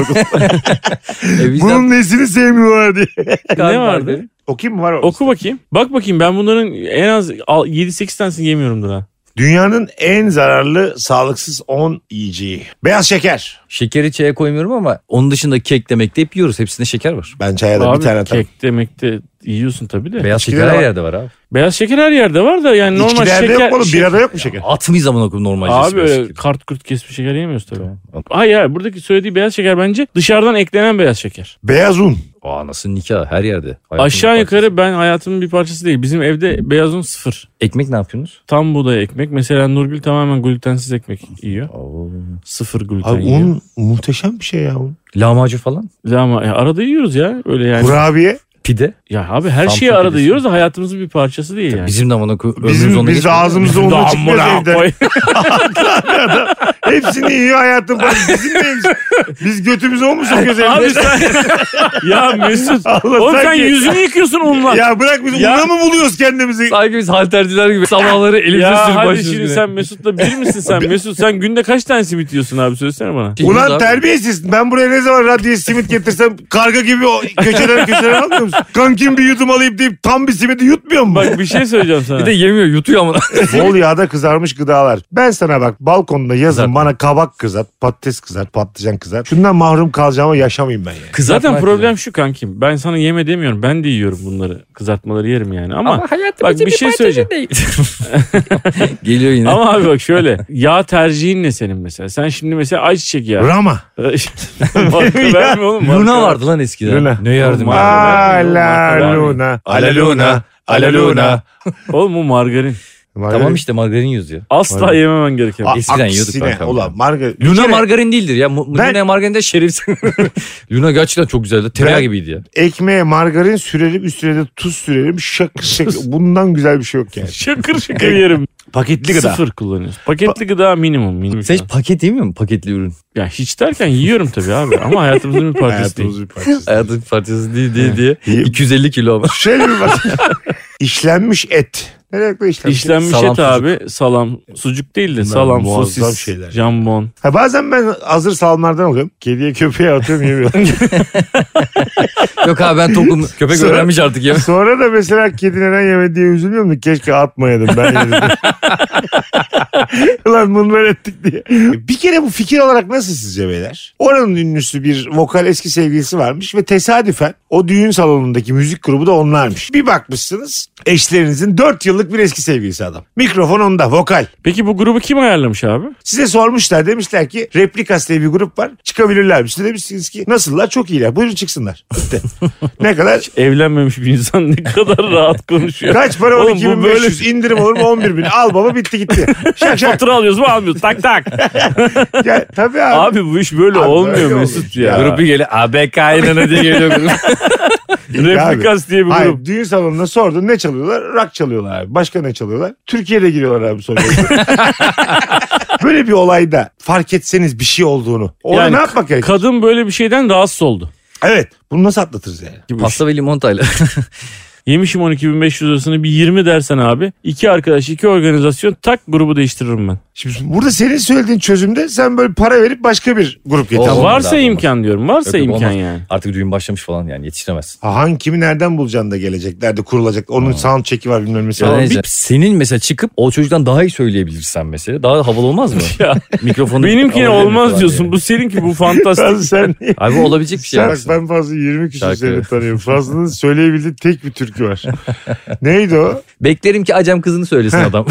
S3: E, vicdan
S1: Bunun nesini sevmiyorlar diye.
S2: ne
S3: galiba
S2: vardı?
S3: dedi.
S1: Okuyayım mı var mı?
S2: Oku bakayım. Bak bakayım ben bunların en az al- 7-8 tanesini yemiyorumdur ha.
S1: Dünyanın en zararlı sağlıksız 10 yiyeceği. Beyaz şeker.
S3: Şekeri çaya koymuyorum ama onun dışında kek demek de hep yiyoruz. Hepsinde şeker var.
S1: Ben çaya da
S2: Abi
S1: bir tane atarım.
S2: kek demek de yiyorsun tabii de.
S3: Beyaz
S1: İçkide
S3: şeker
S1: de
S3: her
S1: var.
S3: yerde var abi.
S2: Beyaz şeker her yerde var da yani normal
S1: İçkilerde
S2: şeker. şey-
S1: yok mu oğlum?
S2: şeker-
S1: Birada yok mu şeker?
S3: At mıyız amına koyayım normal
S2: Abi
S3: beyaz
S2: öyle
S3: şekeri?
S2: kart kurt kesmiş şeker yemiyoruz tabii.
S3: Tamam.
S2: Hayır hayır buradaki söylediği beyaz şeker bence dışarıdan eklenen beyaz şeker.
S1: Beyaz un.
S3: Aa nasıl nikah her yerde. Hayatımın
S2: Aşağı
S3: bir
S2: yukarı
S3: parçası.
S2: ben hayatımın bir parçası değil. Bizim evde beyaz un sıfır.
S3: Ekmek ne yapıyorsunuz?
S2: Tam buğday ekmek. Mesela Nurgül tamamen glutensiz ekmek yiyor.
S3: Oo.
S2: Sıfır gluten
S1: Abi
S2: yiyor.
S1: un muhteşem bir şey ya un.
S3: Lahmacun falan.
S2: Ama ya arada yiyoruz ya öyle yani.
S1: Kurabiye.
S3: Pide.
S2: Ya abi her
S3: Samsun
S2: şeyi arada
S3: pidesi.
S2: yiyoruz da hayatımızın bir parçası değil yani.
S3: Bizim de amına koyayım. ömrümüz
S1: Bizim,
S3: onda
S1: biz
S3: geçmedi.
S1: ağzımızda
S2: Bizim de
S1: unla çıkmaz
S2: amına
S1: evden.
S2: koy-
S1: Hepsini yiyor hayatım. Bizim neyimiz? Biz götümüzü on mu sokuyoruz
S2: Abi
S1: evde?
S2: sen... ya Mesut.
S1: Allah
S2: Oğlum sen
S1: sanki-
S2: yüzünü yıkıyorsun onunla. Ya,
S1: Ya bırak biz
S2: Ya-
S1: una mı buluyoruz kendimizi?
S3: Sanki biz halterciler gibi sabahları elimizde sürüp
S2: hadi
S3: başlıyoruz
S2: şimdi
S3: güne.
S2: sen Mesut'la bir misin sen? Mesut sen günde kaç tane simit yiyorsun abi söylesene bana.
S3: Şey yiyoruz
S1: Ulan
S3: abi.
S1: terbiyesiz. Ben buraya ne zaman radyoya simit getirsem karga gibi o köşeden köşeden almıyor musun? Kankim bir yudum alayım deyip tam bir simidi yutmuyor mu?
S2: Bak bir şey söyleyeceğim sana.
S3: Bir de yemiyor yutuyor amına.
S1: Bol yağda kızarmış gıdalar. Ben sana bak balkonda yazın
S3: Kızart.
S1: bana kabak kızart, patates kızart, patlıcan kızart. Şundan mahrum kalacağıma yaşamayayım ben yani.
S2: Zaten problem şu kankim. Ben sana yeme demiyorum. Ben de yiyorum bunları. Kızartmaları yerim yani. Ama, bak bir şey söyleyeceğim.
S3: Geliyor yine.
S2: Ama abi bak şöyle. Yağ tercihin ne senin mesela? Sen şimdi mesela ayçiçek yağı.
S1: Rama.
S2: Marka verme oğlum. marka
S3: Luna
S2: ver.
S3: vardı lan eskiden.
S1: Luna.
S3: Ne yardım
S2: Oğlum,
S3: ya.
S1: Ala luna. Ala luna. Ala luna.
S2: Oğlum bu margarin.
S3: Tamam işte margarin yiyoruz ya.
S2: Asla
S1: Margarin.
S2: yememen gereken.
S1: A-
S2: bir-
S3: Eskiden yiyorduk
S1: aksine,
S3: ben kanka.
S1: Ulan margarin.
S3: Luna
S1: Luna
S3: margarin değildir ya. Mu-
S1: Ben-
S3: Luna margarin de şerif. Luna gerçekten çok güzeldi. Tereyağı
S1: Ben-
S3: gibiydi ya.
S1: Ekmeğe margarin sürelim üstüne de tuz sürelim şakır şakır. Bundan güzel bir şey yok yani.
S2: Şakır şakır yerim.
S1: Paketli gıda.
S2: Sıfır kullanıyoruz. Paketli gıda minimum. minimum.
S3: Sen hiç paket yemiyor musun? Paketli ürün.
S2: Ya hiç derken yiyorum tabii abi. Ama hayatımızın bir parçası değil.
S1: Hayatımızın bir parçası.
S3: Hayatın parçası değil diye diye.
S1: İyi.
S3: 250 kilo ama.
S1: Şöyle bir bak. İşlenmiş et. Ne demek lan işlenmiş? et?
S2: İşlenmiş
S3: Salam,
S2: et abi salam sucuk değil de
S1: Bunlar
S2: salam
S1: muazzam
S2: sosis
S1: şeyler.
S2: jambon.
S1: Ha, bazen ben hazır salmardan alıyorum. Kediye köpeğe atıyorum yemiyorum.
S3: Yok abi ben tokum. Köpek
S1: Sonra-
S3: öğrenmiş artık ya.
S1: Sonra da mesela kedi neden yemedi diye üzülmüyorum da keşke atmayaydım ben yedim. Ulan bunlar ettik diye. Bir kere bu fikir olarak nasıl sizce beyler? Oranın ünlüsü bir vokal eski sevgilisi varmış ve tesadüfen o düğün salonundaki müzik grubu da onlarmış. Bir bakmışsınız eşlerinizin 4 yıllık bir eski sevgilisi adam. Mikrofon onda vokal.
S2: Peki bu grubu kim ayarlamış abi?
S1: Size sormuşlar demişler ki Replikas diye bir grup var çıkabilirler mi? Siz de demişsiniz ki nasıllar çok iyiler buyurun çıksınlar. Bitti. ne kadar
S2: Evlenmemiş bir insan ne kadar rahat konuşuyor.
S1: Kaç para
S2: Oğlum bu
S1: 12500 indirim olur mu 11000 bin. Al baba bitti gitti. Şak şak.
S2: Fatura alıyoruz mu almıyoruz tak tak.
S1: Ya, tabii abi.
S2: abi bu iş böyle
S1: Abi
S2: olmuyor
S1: öyle
S2: Mesut
S1: olmuş
S2: ya.
S1: ya.
S2: Grup
S3: Grubu geliyor. ABK inanı diye geliyor. grup.
S1: Abi.
S2: Replikas diye bir
S1: Hayır,
S2: grup.
S1: düğün salonuna sordun ne çalıyorlar? Rock çalıyorlar abi. Başka ne çalıyorlar? Türkiye'de giriyorlar abi sonra. Böyle bir olayda fark etseniz bir şey olduğunu. Onu
S2: Yani
S1: ne yapmak gerek?
S2: Kadın böyle bir şeyden rahatsız oldu.
S1: evet. Bunu nasıl atlatırız yani?
S3: Pasta ve limonatayla.
S2: Yemişim 12.500 lirasını bir 20 dersen abi. iki arkadaş iki organizasyon tak grubu değiştiririm ben.
S1: Şimdi burada senin söylediğin çözümde sen böyle para verip başka bir grup getir.
S3: Olmaz.
S2: varsa
S3: abi,
S2: imkan diyorum varsa
S3: Yok, yok,
S2: imkan
S3: olmaz.
S2: yani.
S3: Artık düğün başlamış falan yani yetiştiremez.
S1: Ha, hangi kimi nereden bulacaksın da geleceklerde kurulacak. Onun sound çeki var bilmem nesi var.
S3: Yani bir- senin mesela çıkıp o çocuktan daha iyi söyleyebilirsen mesela. Daha havalı olmaz mı?
S2: Ya,
S3: Mikrofonu
S2: benimkine
S3: alabilir mi
S2: olmaz
S3: falan
S2: diyorsun.
S3: diye.
S2: Bu seninki
S1: Sen,
S2: bu fantastik.
S1: sen
S3: Abi olabilecek bir şey
S1: Bak
S3: aslında.
S1: ben fazla 20 küsür
S3: Şarkı.
S1: seni tanıyorum. Fazla'nın söyleyebildiği tek bir türkü muhabbeti var. Neydi o?
S3: Beklerim ki acem kızını söylesin adam.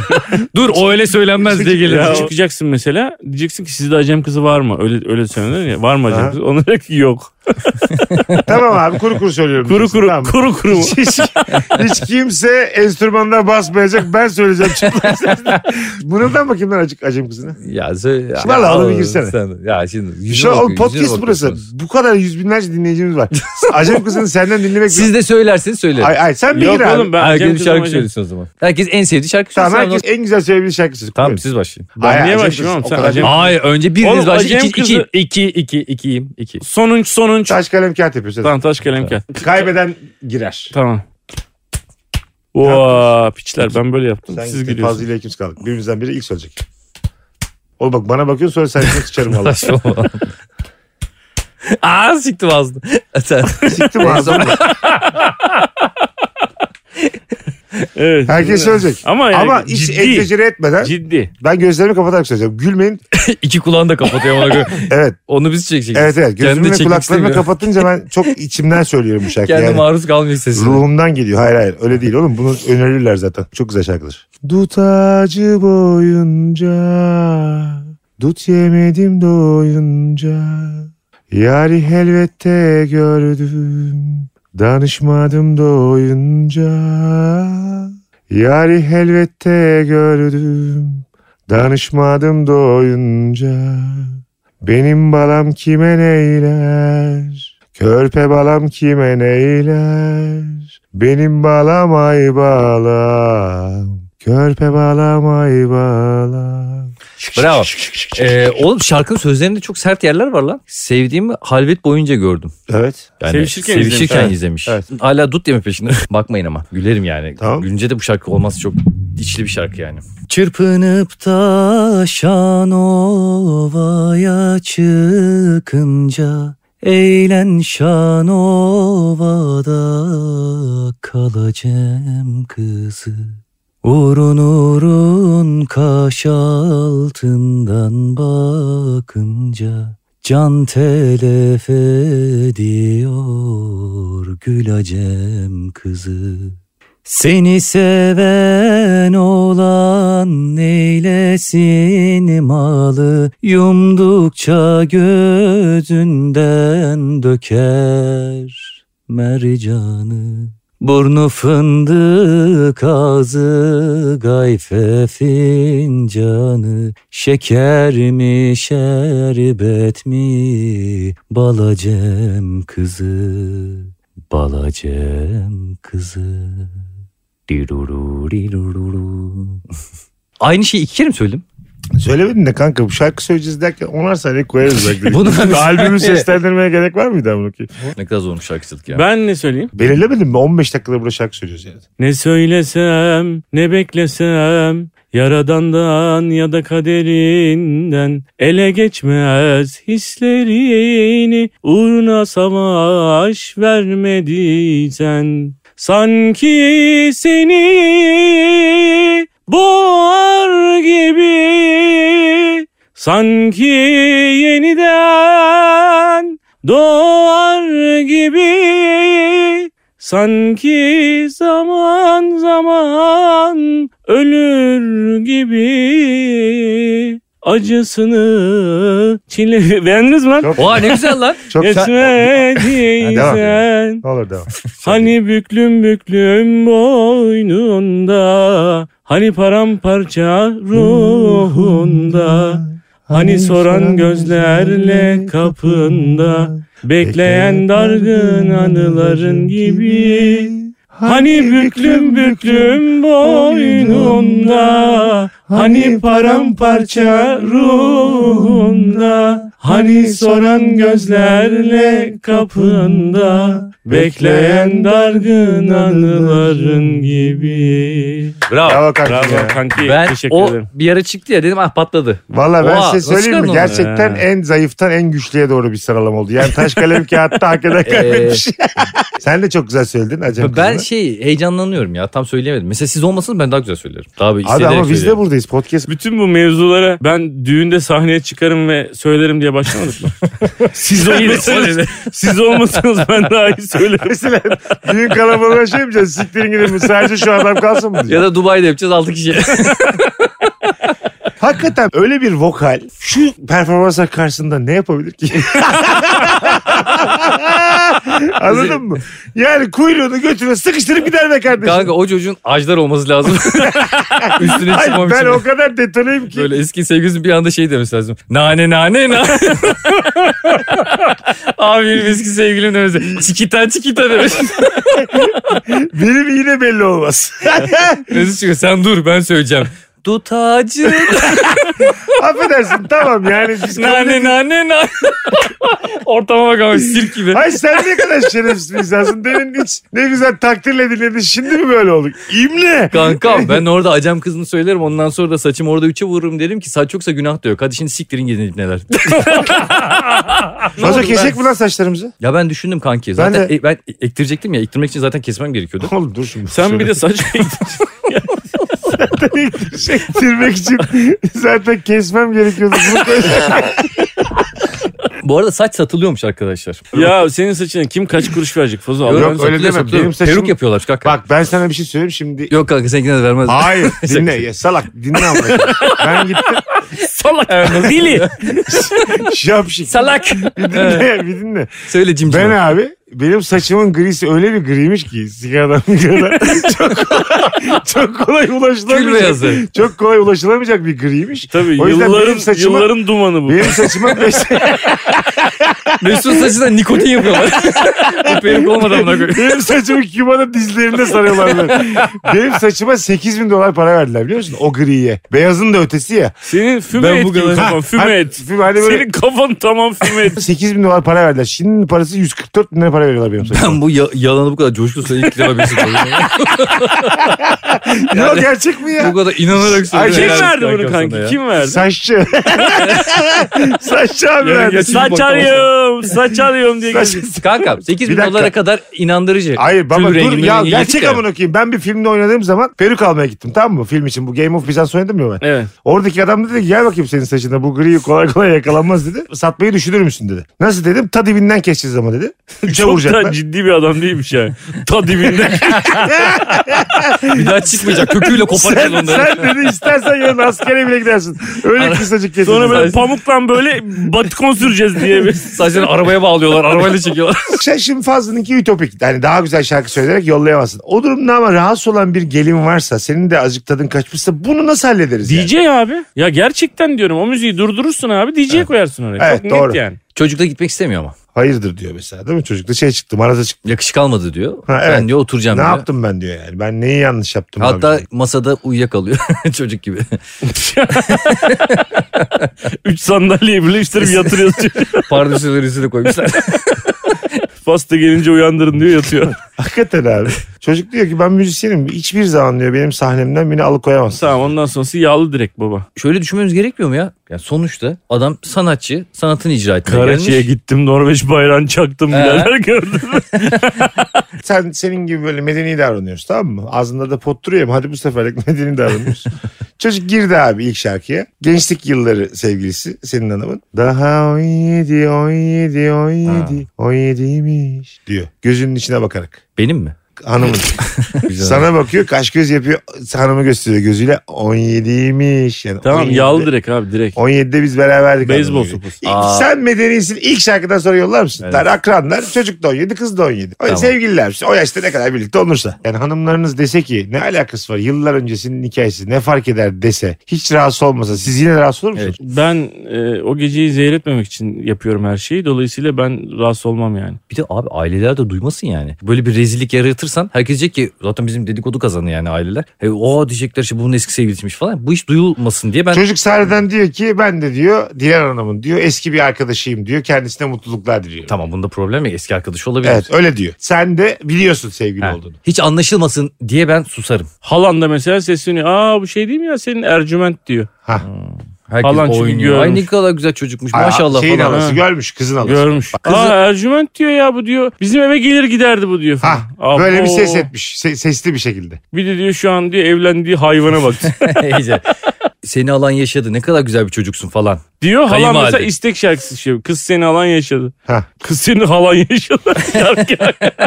S3: Dur o öyle söylenmez diye gelir.
S2: Ya çıkacaksın mesela diyeceksin ki sizde acem kızı var mı? Öyle öyle söylenir ya. Var mı acem
S1: Ha.
S2: kızı? Ona diyor ki yok.
S1: tamam abi kuru kuru söylüyorum.
S2: Kuru
S1: diyorsun,
S2: kuru
S1: tamam mı?
S2: kuru kuru mu?
S1: Hiç, hiç kimse enstrümanına basmayacak. Ben söyleyeceğim çıplak sesle. Mırıldan bakayım lan acık acem kızına.
S3: Ya söyle.
S1: Şimdi al, al bir girsene.
S3: Sen, ya şimdi. yüzüne
S1: Şu an
S3: bakıyor,
S1: oğlum
S3: yüzüne
S1: podcast burası.
S3: bakıyorsunuz.
S1: Bu kadar yüz binlerce dinleyicimiz var. Acem kızını senden dinlemek...
S3: Siz de söylerseniz söylerim.
S1: Ay, ay, sen bir
S2: yok
S1: gir abi.
S2: oğlum ben
S3: Herkes
S2: acem
S3: bir
S2: kızı
S3: şarkı
S2: amacım.
S3: söylesin o zaman. Herkes en sevdiği şarkı
S1: Tamam
S3: söylesin.
S1: herkes en güzel söyleyebildiği şarkısı.
S3: Tamam
S1: Buyurun.
S3: siz başlayın.
S2: Ben
S1: Ay,
S2: niye
S1: Acem
S2: başlayayım
S1: kızı,
S2: oğlum?
S1: o
S2: Sen
S1: kadar-
S2: Acem-
S3: Hayır önce biriniz
S2: Oğlum,
S3: başlayın.
S2: Acem
S3: İki,
S2: kızı-
S3: iki, iki, iki, ikiyim, iki.
S2: Sonuç sonuç.
S1: Taş kalem kağıt yapıyorsun.
S2: Tamam taş kalem kağıt.
S1: Kaybeden girer.
S2: Tamam. Oha piçler ben böyle yaptım.
S1: Sen
S2: Siz
S1: Siz
S2: gülüyorsunuz.
S1: Fazlı ile ikimiz kaldık. Birimizden biri ilk söyleyecek. Oğlum bak bana bakıyorsun sonra sen içine sıçarım valla.
S3: Saçmalama. Aa siktim ağzını. Sen-
S1: Siktim ağzımı.
S2: Evet.
S1: Herkes söyleyecek.
S2: Ama yani
S1: Ama hiç
S2: ciddi.
S1: egzecere etmeden
S2: Ciddi.
S1: ben gözlerimi kapatarak söyleyeceğim. Gülmeyin.
S3: İki kulağını da kapatıyor ona göre.
S1: Evet.
S3: Onu biz çekeceğiz.
S1: Evet evet.
S3: Kendini
S1: Gözümü ve
S3: çekmek
S1: kulaklarımı
S3: istemiyor.
S1: kapatınca ben çok içimden söylüyorum bu şarkıyı.
S3: Kendi
S1: Yani
S3: maruz kalmayacak sesine.
S1: ruhumdan geliyor. Hayır hayır öyle değil oğlum. Bunu önerirler zaten. Çok güzel şarkıdır. Dut ağacı boyunca Dut yemedim doyunca Yari elbette gördüm Danışmadım doyunca Yari elbette gördüm Danışmadım doyunca Benim balam kime neyler Körpe balam kime neyler Benim balam ay balam Körpe balam ay balam
S3: Bravo. Ee, oğlum şarkının sözlerinde çok sert yerler var lan. Sevdiğimi halvet boyunca gördüm.
S1: Evet.
S3: Yani
S2: Sevişirken
S3: sevişirken
S2: izlemiş.
S3: izlemiş.
S1: Evet.
S3: Hala dut yeme peşinde. Bakmayın ama gülerim yani.
S1: Tamam.
S3: Gülünce de bu şarkı olmaz çok içli bir şarkı yani. Çırpınıp taşan ovaya çıkınca Eğlen şan ovada kalacağım kızı. Urun urun kaş altından bakınca Can telef ediyor gül acem kızı. Seni seven olan neylesin malı Yumdukça gözünden döker mercanı Burnu fındık ağzı gayfe fincanı Şeker mi şerbet mi balacem kızı Balacem kızı Diruru diruru Aynı şeyi iki kere mi söyledim?
S1: Söylemedin de kanka bu şarkı söyleyeceğiz derken onar saniye koyarız bak.
S3: Bunu ben-
S1: Albümü seslendirmeye gerek var mıydı amına koyayım?
S3: Ne kadar zormuş şarkıcılık ya.
S2: Ben ne söyleyeyim?
S1: Belirlemedin mi? 15 dakikada burada şarkı söylüyoruz yani.
S2: Ne söylesem, ne beklesem, yaradandan ya da kaderinden ele geçmez hislerini uğruna savaş vermediysen. Sanki seni boğar gibi, sanki yeniden doğar gibi. Sanki zaman zaman ölür gibi acısını çile... Beğendiniz mi lan?
S1: Çok,
S3: Oha ne güzel lan.
S1: çok Ha, devam
S2: Geçmediysen
S1: Ne olur devam.
S2: hani büklüm büklüm boynunda hani paramparça ruhunda hani soran gözlerle kapında Bekleyen dargın anıların gibi Hani büklüm büklüm boynunda Hani paramparça ruhunda Hani soran gözlerle kapında Bekleyen dargın anıların gibi
S3: Bravo.
S1: Bravo kanka. ya.
S2: kanki
S3: Ben o bir ara çıktı ya dedim ah patladı.
S1: Valla ben
S3: Oha,
S1: size
S3: nasıl
S1: söyleyeyim mi?
S3: kandın onu?
S1: Gerçekten
S2: He.
S1: en zayıftan en güçlüye doğru bir sıralama oldu. Yani taş kalem kağıtta hak eden kaybetmiş. Sen de çok güzel söyledin Acem
S3: ben
S1: kızını.
S3: şey heyecanlanıyorum ya tam söyleyemedim. Mesela siz olmasanız ben daha güzel söylerim. Daha bir
S1: Abi ama biz de
S3: bu.
S1: buradayız. Podcast
S2: bütün bu mevzulara ben düğünde sahneye çıkarım ve söylerim diye başlamadık mı? Siz olmasanız, siz olmasanız ben daha iyi söylerim.
S1: Mesela düğün kalabalığına şey mi diyeceksin? Siktirin gidin mi? Sadece şu adam kalsın mı
S3: ya
S1: diyeceksin?
S3: da Dubai'de yapacağız 6 kişi.
S1: Hakikaten öyle bir vokal şu performanslar karşısında ne yapabilir ki? Anladın mı? Yani kuyruğunu götüne sıkıştırıp gider be kardeşim.
S3: Kanka o çocuğun ajdar olması lazım. Üstüne
S1: Hayır,
S3: çıkmamış.
S1: ben o kadar detoneyim ki.
S3: Böyle eski sevgilisi bir anda şey demiş lazım. Nane nane nane. Abi benim eski sevgilim demiş. Çikita çikita demiş.
S1: Benim yine belli olmaz.
S3: Mesut çıkıyor sen dur ben söyleyeceğim. Dutacı
S1: Affedersin tamam yani. Biz
S3: nane nane nane. Ortama bak ama sirk gibi.
S1: Ay sen ne kadar şerefsiz bir insansın. Demin hiç ne güzel takdirle dinledin. Şimdi mi böyle olduk? İmle.
S3: Kanka ben orada acem kızını söylerim ondan sonra da saçımı orada üçe vururum derim ki saç yoksa günah da yok. Hadi şimdi siktirin gidin neler.
S1: Fazla kesek mi lan saçlarımızı?
S3: Ya ben düşündüm kanki. Zaten
S1: Ben
S3: e- ben ektirecektim ya ektirmek için zaten kesmem gerekiyordu.
S1: Oğlum dur şimdi.
S2: Sen bir de saç
S1: Sektirmek Şey, için zaten kesmem gerekiyordu. Bunu koy-
S3: Bu arada saç satılıyormuş arkadaşlar.
S2: ya senin saçına kim kaç kuruş verecek Fazla?
S1: Yok,
S2: Allah'ın
S1: öyle
S2: saçı-
S1: değil. deme, benim saçım-
S3: Peruk yapıyorlar kanka.
S1: Bak ben sana bir şey söyleyeyim şimdi.
S3: Yok kanka seninkine de vermez.
S1: Hayır dinle ya salak dinle ama. ben gittim
S3: Salak. Dili.
S1: şapşik.
S3: Salak.
S1: Şey Bir dinle ya, bir dinle.
S3: Söyle cimcime.
S1: Ben abi benim saçımın grisi öyle bir griymiş ki sigaradan sigaradan çok kolay, çok kolay
S3: Kül
S1: ulaşılamayacak.
S3: beyazı.
S1: Çok kolay ulaşılamayacak bir griymiş.
S2: Tabii
S1: O yüzden
S2: yılların,
S1: benim saçıma-
S2: yılların dumanı bu.
S1: Benim saçıma beş,
S3: Mesut saçına nikotin yapıyorlar. o peruk olmadan buna koy.
S1: benim saçımı Küba'da dizlerinde sarıyorlar. böyle. benim saçıma 8 bin dolar para verdiler biliyor musun? O griye. Beyazın da ötesi ya.
S2: Senin füme
S3: Ben
S2: et
S3: bu
S2: gibi
S3: kadar-
S2: kafan.
S1: Ha,
S2: Füme
S1: hani-
S2: et.
S1: füme, hani böyle-
S2: Senin kafan tamam füme et.
S1: 8 bin dolar para verdiler. Şimdinin parası 144 bin lira para veriyorlar benim saçıma.
S3: Ben bu ya- yalanı bu kadar coşku söyleyip ilk defa Mesut oluyor.
S1: ya gerçek mi ya?
S3: Bu kadar inanarak söylüyor.
S2: Kim
S3: Helal
S2: verdi
S3: olsun
S2: bunu kanki?
S3: kankam sana ya.
S2: Kim verdi?
S1: Saççı. Saççı abi
S2: Yani
S1: verdi.
S3: geçen-
S2: saç arıyorum, saç arıyorum diye
S1: Saç-
S2: geziyor.
S3: Kanka 8 bin
S1: Bir dakika.
S3: dolara kadar inandırıcı.
S1: Hayır baba
S3: Tül
S1: dur
S3: rengi,
S1: ya
S3: rengi
S1: gerçek
S3: yedik
S1: amına koyayım. Ben bir filmde oynadığım zaman peruk almaya gittim tamam mı? Film için bu Game of Bizans oynadım ya ben.
S2: Evet.
S1: Oradaki adam dedi ki gel bakayım senin saçında bu gri kolay kolay yakalanmaz dedi. Satmayı düşünür müsün dedi. Nasıl dedim ta dibinden keseceğiz ama dedi. Üçe
S2: Çok da
S1: vuracaklar.
S2: ciddi bir adam değilmiş yani. Ta dibinde.
S3: Bir daha çıkmayacak. Köküyle koparacak
S1: Sen,
S3: onları.
S1: sen dedi istersen yarın askere bile gidersin. Öyle kısacık keseceğiz.
S2: Sonra böyle pamukla böyle batikon süreceğiz diye. bir-
S3: Saçlarını arabaya bağlıyorlar. Arabayla çekiyorlar.
S1: Sen şimdi Fazlı'nınki ütopik. Yani daha güzel şarkı söyleyerek yollayamazsın. O durumda ama rahatsız olan bir gelin varsa senin de azıcık tadın kaçmışsa bunu nasıl hallederiz? yani?
S2: DJ abi. Ya gerçekten diyorum o müziği durdurursun abi DJ koyarsın oraya.
S1: Evet,
S2: Çok
S1: doğru.
S2: net yani.
S3: Çocuk da gitmek istemiyor ama.
S1: Hayırdır diyor mesela değil mi? Çocukta şey çıktı maraza çıktı.
S3: Yakışık almadı diyor.
S1: Ha, evet.
S3: Ben diyor oturacağım
S1: Ne
S3: diyor.
S1: yaptım ben diyor yani. Ben neyi yanlış yaptım
S3: Hatta
S1: abi?
S3: masada uyuyakalıyor çocuk gibi.
S2: Üç sandalyeyi birleştirip yatırıyorsun.
S3: Pardesüleri üstüne koymuşlar.
S2: Pasta gelince uyandırın diyor yatıyor.
S1: Hakikaten abi. Çocuk diyor ki ben müzisyenim. Hiçbir zaman diyor benim sahnemden beni alıkoyamazsın.
S2: tamam ondan sonrası yağlı direkt baba.
S3: Şöyle düşünmemiz gerekmiyor mu ya? Yani sonuçta adam sanatçı, sanatını icra etmeye
S2: Karaçi'ye
S3: gelmiş.
S2: gittim Norveç bayrağını çaktım neler gördün. mü?
S1: Sen senin gibi böyle medeni davranıyoruz tamam mı? Ağzında da pot duruyor ama hadi bu seferlik medeni davranıyoruz. Çocuk girdi abi ilk şarkıya. Gençlik yılları sevgilisi senin hanımın. Daha 17, 17, 17, 17'ymiş diyor. Gözünün içine bakarak.
S3: Benim mi?
S1: Hanımın.
S3: Güzel.
S1: Sana bakıyor kaş göz yapıyor. Hanımı gösteriyor gözüyle. 17'ymiş. Yani
S2: tamam
S1: 17'de
S2: yağlı direkt abi direkt.
S1: 17'de biz beraberdik.
S2: Beyzbol
S1: anlamına geliyor.
S2: sopası.
S1: İlk-
S3: Aa.
S1: Sen medenisin ilk şarkıdan sonra yollar mısın?
S3: Evet.
S1: Der akranlar çocuk da 17 kız da 17. O
S3: Tamam.
S1: Sevgililer o yaşta ne kadar birlikte olursa. Yani hanımlarınız dese ki ne alakası var yıllar öncesinin hikayesi ne fark eder dese hiç rahatsız olmasa siz yine rahatsız olur musunuz?
S2: Ben e, o geceyi zehir etmemek için yapıyorum her şeyi. Dolayısıyla ben rahatsız olmam yani.
S3: Bir de abi aileler de duymasın yani. Böyle bir rezillik yaratırsan herkes diyecek ki zaten bizim dedikodu kazanı yani aileler. He, o diyecekler işte bunun eski sevgilisiymiş falan. Bu iş duyulmasın diye ben
S1: Çocuk sahneden diyor ki ben de diyor Dilan Hanım'ın diyor eski bir arkadaşıyım diyor kendisine mutluluklar diliyorum.
S3: tamam bunda problem yok eski arkadaşı olabilir.
S1: Evet öyle diyor. Sen de biliyorsun sevgili
S3: Ha.
S1: olduğunu.
S3: Hiç anlaşılmasın diye ben susarım.
S2: Halan da mesela sesleniyor. Aa bu şey değil mi ya senin Ercüment diyor.
S1: Ha.
S3: Herkes
S2: Halan çünkü
S3: oynuyor.
S2: görmüş.
S3: Ay ne kadar güzel çocukmuş maşallah
S1: Şeyin
S3: falan.
S1: alası
S2: ha.
S1: görmüş kızın alası.
S2: Görmüş.
S1: Kızı-
S2: Aa Ercüment diyor ya bu diyor. Bizim eve gelir giderdi bu diyor.
S1: Ha,
S2: falan. Abo.
S1: böyle bir ses etmiş. Se- sesli bir şekilde.
S2: Bir de diyor şu an diyor evlendiği hayvana bak.
S3: İyice. seni alan yaşadı ne kadar güzel bir çocuksun falan.
S2: Diyor halan
S3: Kayınvalide.
S2: mesela istek şarkısı şey. Kız seni halan yaşadı.
S1: Hah.
S2: Kız seni halan yaşadı. Şarkı.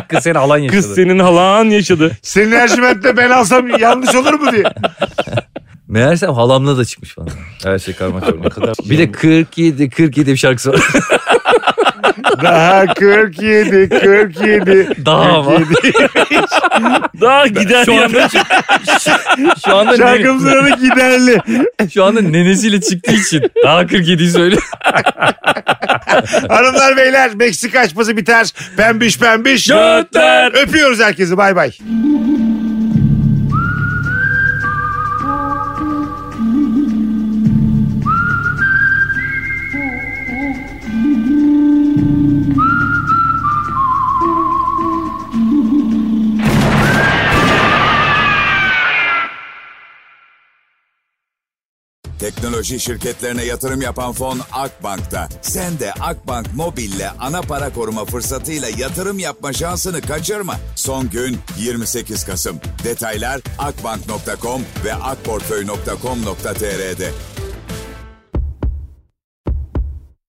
S3: Kız seni alan yaşadı.
S2: Kız senin halan yaşadı.
S1: Senin Ercüment'le ben alsam yanlış olur mu diye.
S3: Meğersem halamla da çıkmış falan. Her şey karma çorba. kadar. Bir de 47 47 bir şarkısı var.
S1: Daha 47, 47.
S3: Daha ama.
S1: 47.
S2: Daha gider
S3: Şu
S2: ya.
S3: anda, şu, şu anda,
S1: Şarkımızın adı giderli.
S3: şu anda nenesiyle çıktığı için daha 47'yi söyle.
S1: Hanımlar beyler Meksika açması biter. Pembiş pembiş.
S2: Gönder.
S1: Öpüyoruz herkesi bay bay.
S4: Teknoloji şirketlerine yatırım yapan fon Akbank'ta. Sen de Akbank Mobil'le ana para koruma fırsatıyla yatırım yapma şansını kaçırma. Son gün 28 Kasım. Detaylar akbank.com ve akportföy.com.tr'de.